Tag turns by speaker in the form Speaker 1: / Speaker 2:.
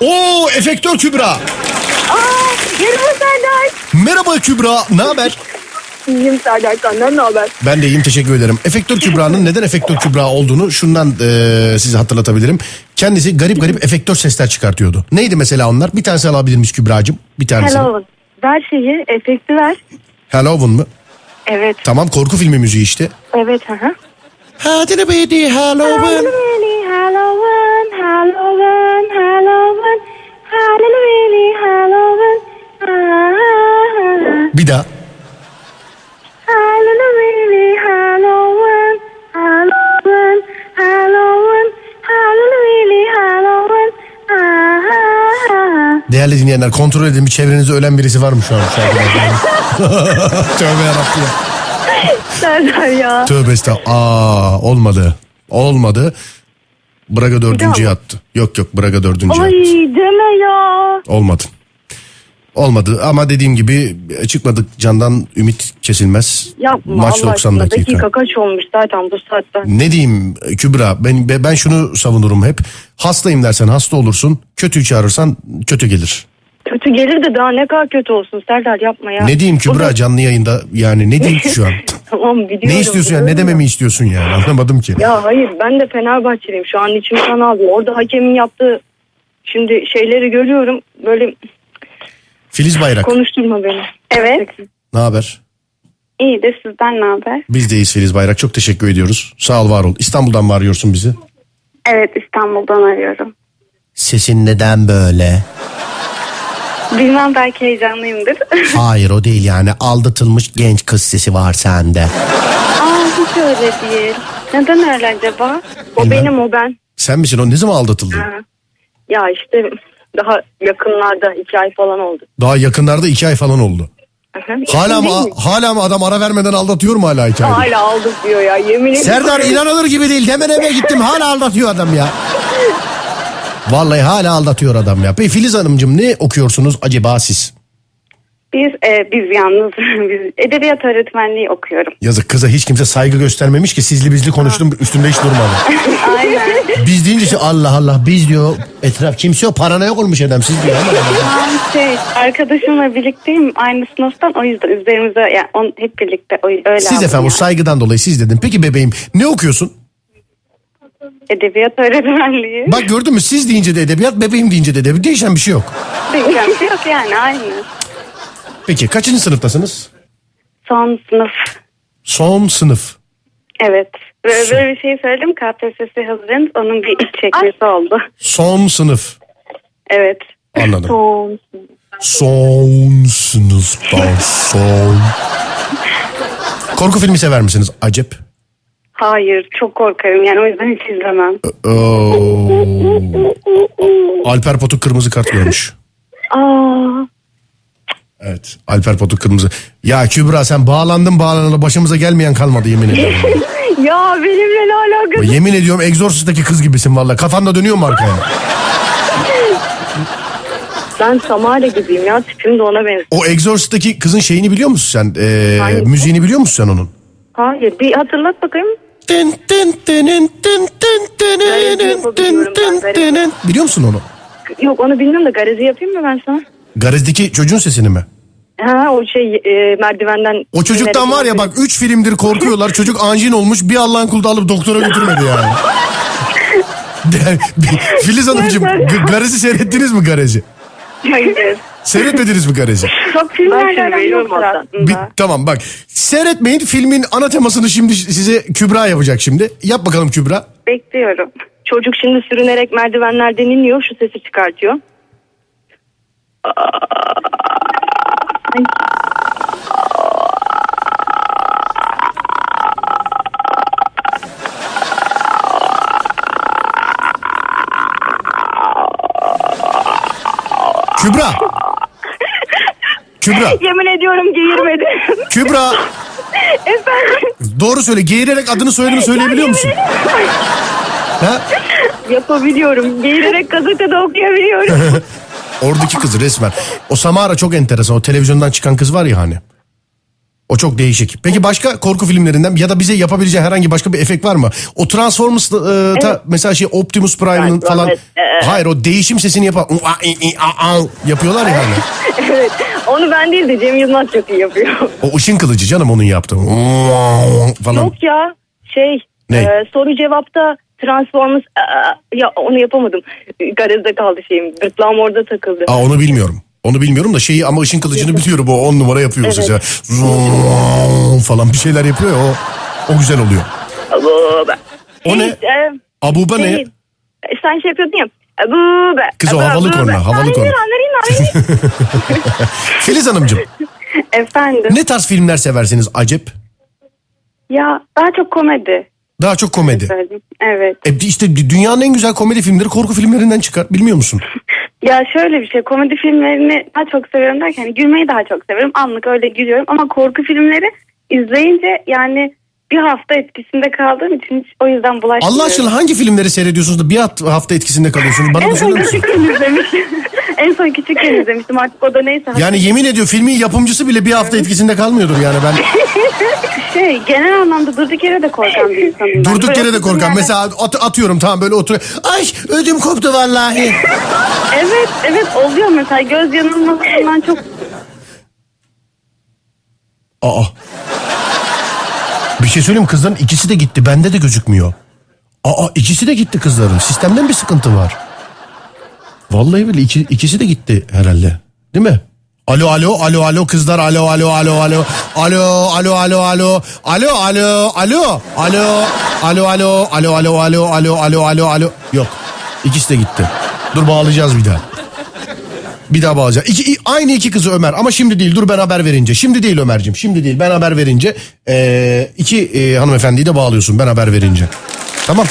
Speaker 1: Oo efektör Kübra.
Speaker 2: Aa, merhaba Serdar.
Speaker 1: Merhaba Kübra. Ne haber?
Speaker 2: İyiyim Serdar senden ne haber?
Speaker 1: Ben de iyiyim teşekkür ederim. Efektör Kübra'nın neden efektör Kübra olduğunu şundan e, size hatırlatabilirim. Kendisi garip garip efektör sesler çıkartıyordu. Neydi mesela onlar? Bir tanesi alabilir miyiz Kübra'cığım? Bir tanesi.
Speaker 2: Hello. Ver şeyi, efekti ver.
Speaker 1: Halloween mı?
Speaker 2: Evet,
Speaker 1: Tamam korku filmi müziği işte.
Speaker 2: evet. Aha.
Speaker 1: Hadi be Halloween.
Speaker 2: Halloween, Halloween, Halloween, Halloween, Halloween, Halloween, ah,
Speaker 1: Bir daha.
Speaker 2: Halloween, Halloween, Halloween, Halloween, Halloween, Halloween, ah.
Speaker 1: Değerli dinleyenler kontrol edin bir çevrenizde ölen birisi var mı şu an? Tövbe yarabbim. ya.
Speaker 2: Serdar ya.
Speaker 1: Tövbe estağfurullah. Aa olmadı. Olmadı. Braga dördüncüye
Speaker 2: daha
Speaker 1: attı. Yok yok Braga dördüncüye
Speaker 2: Ay
Speaker 1: attı.
Speaker 2: deme ya.
Speaker 1: Olmadı. Olmadı ama dediğim gibi çıkmadık candan ümit kesilmez.
Speaker 2: Yapma
Speaker 1: Maç 90
Speaker 2: Allah aşkına.
Speaker 1: dakika.
Speaker 2: Dakika kaç olmuş zaten bu saatte.
Speaker 1: Ne diyeyim Kübra ben, ben şunu savunurum hep. Hastayım dersen hasta olursun. Kötüyü çağırırsan kötü gelir.
Speaker 2: Kötü gelir de daha ne kadar kötü olsun Serdar yapma ya.
Speaker 1: Ne diyeyim
Speaker 2: O da-
Speaker 1: Kübra canlı yayında yani ne diyeyim ki şu an?
Speaker 2: Tamam biliyorum.
Speaker 1: ne istiyorsun yani ne
Speaker 2: biliyorum
Speaker 1: dememi istiyorsun yani anlamadım ki.
Speaker 2: Ya hayır ben de Fenerbahçeliyim şu an içim kan ağlıyor. Orada hakemin yaptığı şimdi şeyleri görüyorum böyle
Speaker 1: Filiz Bayrak
Speaker 2: konuşturma beni.
Speaker 3: Evet.
Speaker 1: ne haber?
Speaker 3: İyi de sizden ne haber?
Speaker 1: Biz de iyiyiz Filiz Bayrak. Çok teşekkür ediyoruz. Sağ ol var ol. İstanbul'dan mı arıyorsun bizi?
Speaker 3: Evet İstanbul'dan arıyorum.
Speaker 1: Sesin neden böyle?
Speaker 3: Bilmem belki heyecanlıyımdır.
Speaker 1: Hayır o değil yani. Aldatılmış genç kız sesi var sende.
Speaker 3: Aa hiç öyle değil. Neden öyle acaba?
Speaker 2: O
Speaker 1: Bilmem.
Speaker 2: benim o ben.
Speaker 1: Sen misin o? Ne zaman aldatıldın?
Speaker 2: Ya işte daha yakınlarda iki ay falan oldu.
Speaker 1: Daha yakınlarda iki ay falan oldu.
Speaker 2: Aha.
Speaker 1: Hala mı,
Speaker 2: Değil mi?
Speaker 1: hala mı adam ara vermeden aldatıyor mu hala iki aydır?
Speaker 2: Hala aldık diyor ya yemin ederim.
Speaker 1: Serdar inanılır gibi değil. Hemen eve gittim hala aldatıyor adam ya. Vallahi hala aldatıyor adam ya. Peki Filiz Hanımcığım ne okuyorsunuz acaba siz?
Speaker 3: Biz e, biz yalnız biz edebiyat öğretmenliği okuyorum.
Speaker 1: Yazık kıza hiç kimse saygı göstermemiş ki sizli bizli konuştum üstümde hiç durmadı.
Speaker 3: Aynen.
Speaker 1: Biz deyince şey, Allah Allah biz diyor etraf kimse yok parana yok olmuş adam siz diyor ama.
Speaker 3: Ben şey arkadaşımla birlikteyim aynı sınıftan o yüzden üzerimize yani on, hep birlikte o, öyle
Speaker 1: Siz
Speaker 3: aldım
Speaker 1: efendim o
Speaker 3: yani.
Speaker 1: saygıdan dolayı siz dedim. Peki bebeğim ne okuyorsun?
Speaker 3: edebiyat öğretmenliği.
Speaker 1: Bak gördün mü siz deyince de edebiyat bebeğim deyince de edebiyat değişen bir şey yok.
Speaker 3: Değişen bir şey yok yani aynı.
Speaker 1: Peki kaçıncı sınıftasınız?
Speaker 3: Son sınıf.
Speaker 1: Son sınıf.
Speaker 3: Evet. Böyle, böyle bir şey söyledim KPSS hazırlanız onun bir iç çekmesi oldu.
Speaker 1: Son sınıf.
Speaker 3: Evet.
Speaker 1: Anladım.
Speaker 3: Son.
Speaker 1: Son sınıftan son. Korku filmi sever misiniz? Acep.
Speaker 3: Hayır çok korkarım yani o yüzden hiç izlemem.
Speaker 1: Oo. Alper Potuk kırmızı kart görmüş.
Speaker 3: Aa,
Speaker 1: Evet. Alper Potuk kırmızı. Ya Kübra sen bağlandın bağlanalı başımıza gelmeyen kalmadı yemin ederim.
Speaker 2: Ya benimle ne alakası
Speaker 1: yemin ediyorum Exorcist'teki kız gibisin valla. Kafanda dönüyor mu arkaya?
Speaker 2: Ben Samara gibiyim ya tipim de ona benziyor.
Speaker 1: O Exorcist'teki kızın şeyini biliyor musun sen? Ee, müziğini biliyor musun sen onun?
Speaker 2: Hayır bir hatırlat bakayım.
Speaker 1: Tın tın tının tın tın tının
Speaker 2: Garezi yapabiliyorum ben,
Speaker 1: tın
Speaker 2: garezi.
Speaker 1: tının. Biliyor musun onu?
Speaker 2: Yok onu bilmiyorum da garezi yapayım mı ben sana?
Speaker 1: Garajdaki çocuğun sesini mi?
Speaker 2: Ha o şey e, merdivenden.
Speaker 1: O çocuktan var ya bak 3 filmdir korkuyorlar. Çocuk anjin olmuş bir Allah'ın kulu da alıp doktora götürmedi yani. De- Filiz Hanımcığım g- garezi seyrettiniz mi garezi?
Speaker 3: hayır.
Speaker 1: Seyretmediniz mi garezi?
Speaker 3: Çok
Speaker 2: Ben
Speaker 3: filmlerle
Speaker 2: şimdi
Speaker 3: aram
Speaker 2: veriyorum
Speaker 3: yoktur
Speaker 2: hatta.
Speaker 3: aslında.
Speaker 1: Bir- tamam bak seyretmeyin filmin ana temasını şimdi size Kübra yapacak şimdi. Yap bakalım Kübra.
Speaker 3: Bekliyorum.
Speaker 2: Çocuk şimdi sürünerek merdivenlerden iniyor şu sesi çıkartıyor.
Speaker 1: Kübra. Kübra.
Speaker 2: Yemin ediyorum geğirmedi.
Speaker 1: Kübra. Doğru söyle. Geğirerek adını soyadını söyleyebiliyor musun? Ha?
Speaker 2: Yapabiliyorum. Geğirerek gazetede okuyabiliyorum.
Speaker 1: Oradaki kız resmen. O Samara çok enteresan. O televizyondan çıkan kız var ya hani. O çok değişik. Peki başka korku filmlerinden ya da bize yapabileceği herhangi başka bir efekt var mı? O Transformers e, ta- mesela şey Optimus Prime'ın
Speaker 2: Transformers,
Speaker 1: falan.
Speaker 2: e-
Speaker 1: Hayır o değişim sesini yapan. Yapıyorlar ya hani.
Speaker 2: evet. Onu ben değil de Cem Yılmaz çok iyi yapıyor.
Speaker 1: O ışın kılıcı canım onun yaptığı. Falan.
Speaker 2: Yok ya şey
Speaker 1: Ne?
Speaker 2: e, soru cevapta Transformers e, e, ya onu yapamadım. Garajda kaldı şeyim. Gırtlağım orada takıldı.
Speaker 1: Aa onu bilmiyorum. Onu bilmiyorum da şeyi ama ışın kılıcını biliyorum. O on numara yapıyor o sesi. Vroom Falan bir şeyler yapıyor ya, o. O güzel oluyor.
Speaker 2: Abu be.
Speaker 1: O
Speaker 2: Şey,
Speaker 1: ne?
Speaker 2: e,
Speaker 1: Abuba ne?
Speaker 2: şey, e, sen şey yapıyordun ya. Abu be.
Speaker 1: Kız o
Speaker 2: abu,
Speaker 1: havalı
Speaker 2: abu
Speaker 1: korna,
Speaker 2: be.
Speaker 1: havalı
Speaker 2: Narin,
Speaker 1: korna.
Speaker 2: narin, narin.
Speaker 1: Filiz Hanımcığım
Speaker 3: Efendim.
Speaker 1: ne tarz filmler seversiniz acep?
Speaker 3: Ya daha çok komedi.
Speaker 1: Daha çok komedi.
Speaker 3: söyledim. Evet.
Speaker 1: E işte dünyanın en güzel komedi filmleri korku filmlerinden çıkar. Bilmiyor musun?
Speaker 3: Ya şöyle bir şey komedi filmlerini daha çok seviyorum derken hani gülmeyi daha çok seviyorum. Anlık öyle gülüyorum ama korku filmleri izleyince yani bir hafta etkisinde kaldığım için hiç o yüzden bulaşmıyorum.
Speaker 1: Allah aşkına hangi filmleri seyrediyorsunuz da bir hat- hafta etkisinde kalıyorsunuz? Bana
Speaker 3: En
Speaker 1: da
Speaker 3: son
Speaker 1: söyler misin?
Speaker 3: küçükken izlemiştim. en son küçükken izlemiştim artık o da neyse.
Speaker 1: Yani yemin ediyor filmin yapımcısı bile bir hafta etkisinde kalmıyordur yani ben.
Speaker 3: Şey genel anlamda durduk yere de korkan bir insanım. ben.
Speaker 1: Durduk
Speaker 3: Böyle
Speaker 1: yere de
Speaker 3: oturdum
Speaker 1: korkan.
Speaker 3: yerde-
Speaker 1: Mesela at- atıyorum tamam böyle oturuyor. Ay ödüm koptu vallahi.
Speaker 3: Evet evet oluyor mesela göz yanılmasından çok
Speaker 1: Aa. Bir şey söyleyeyim mi? kızların ikisi de gitti. Bende de gözükmüyor. Aa ikisi de gitti kızların. Sistemden bir sıkıntı var. Vallahi bile iki- ikisi de gitti herhalde. Değil mi? Alo alo alo alo kızlar alo alo alo alo alo alo alo alo alo alo alo alo alo alo alo alo alo alo alo alo alo yok ikisi de gitti dur bağlayacağız bir daha bir daha bağlayacağım. İki, i- aynı iki kızı Ömer ama şimdi değil dur ben haber verince. Şimdi değil Ömer'cim şimdi değil ben haber verince. Ee, iki e, hanımefendiyi de bağlıyorsun ben haber verince. Tamam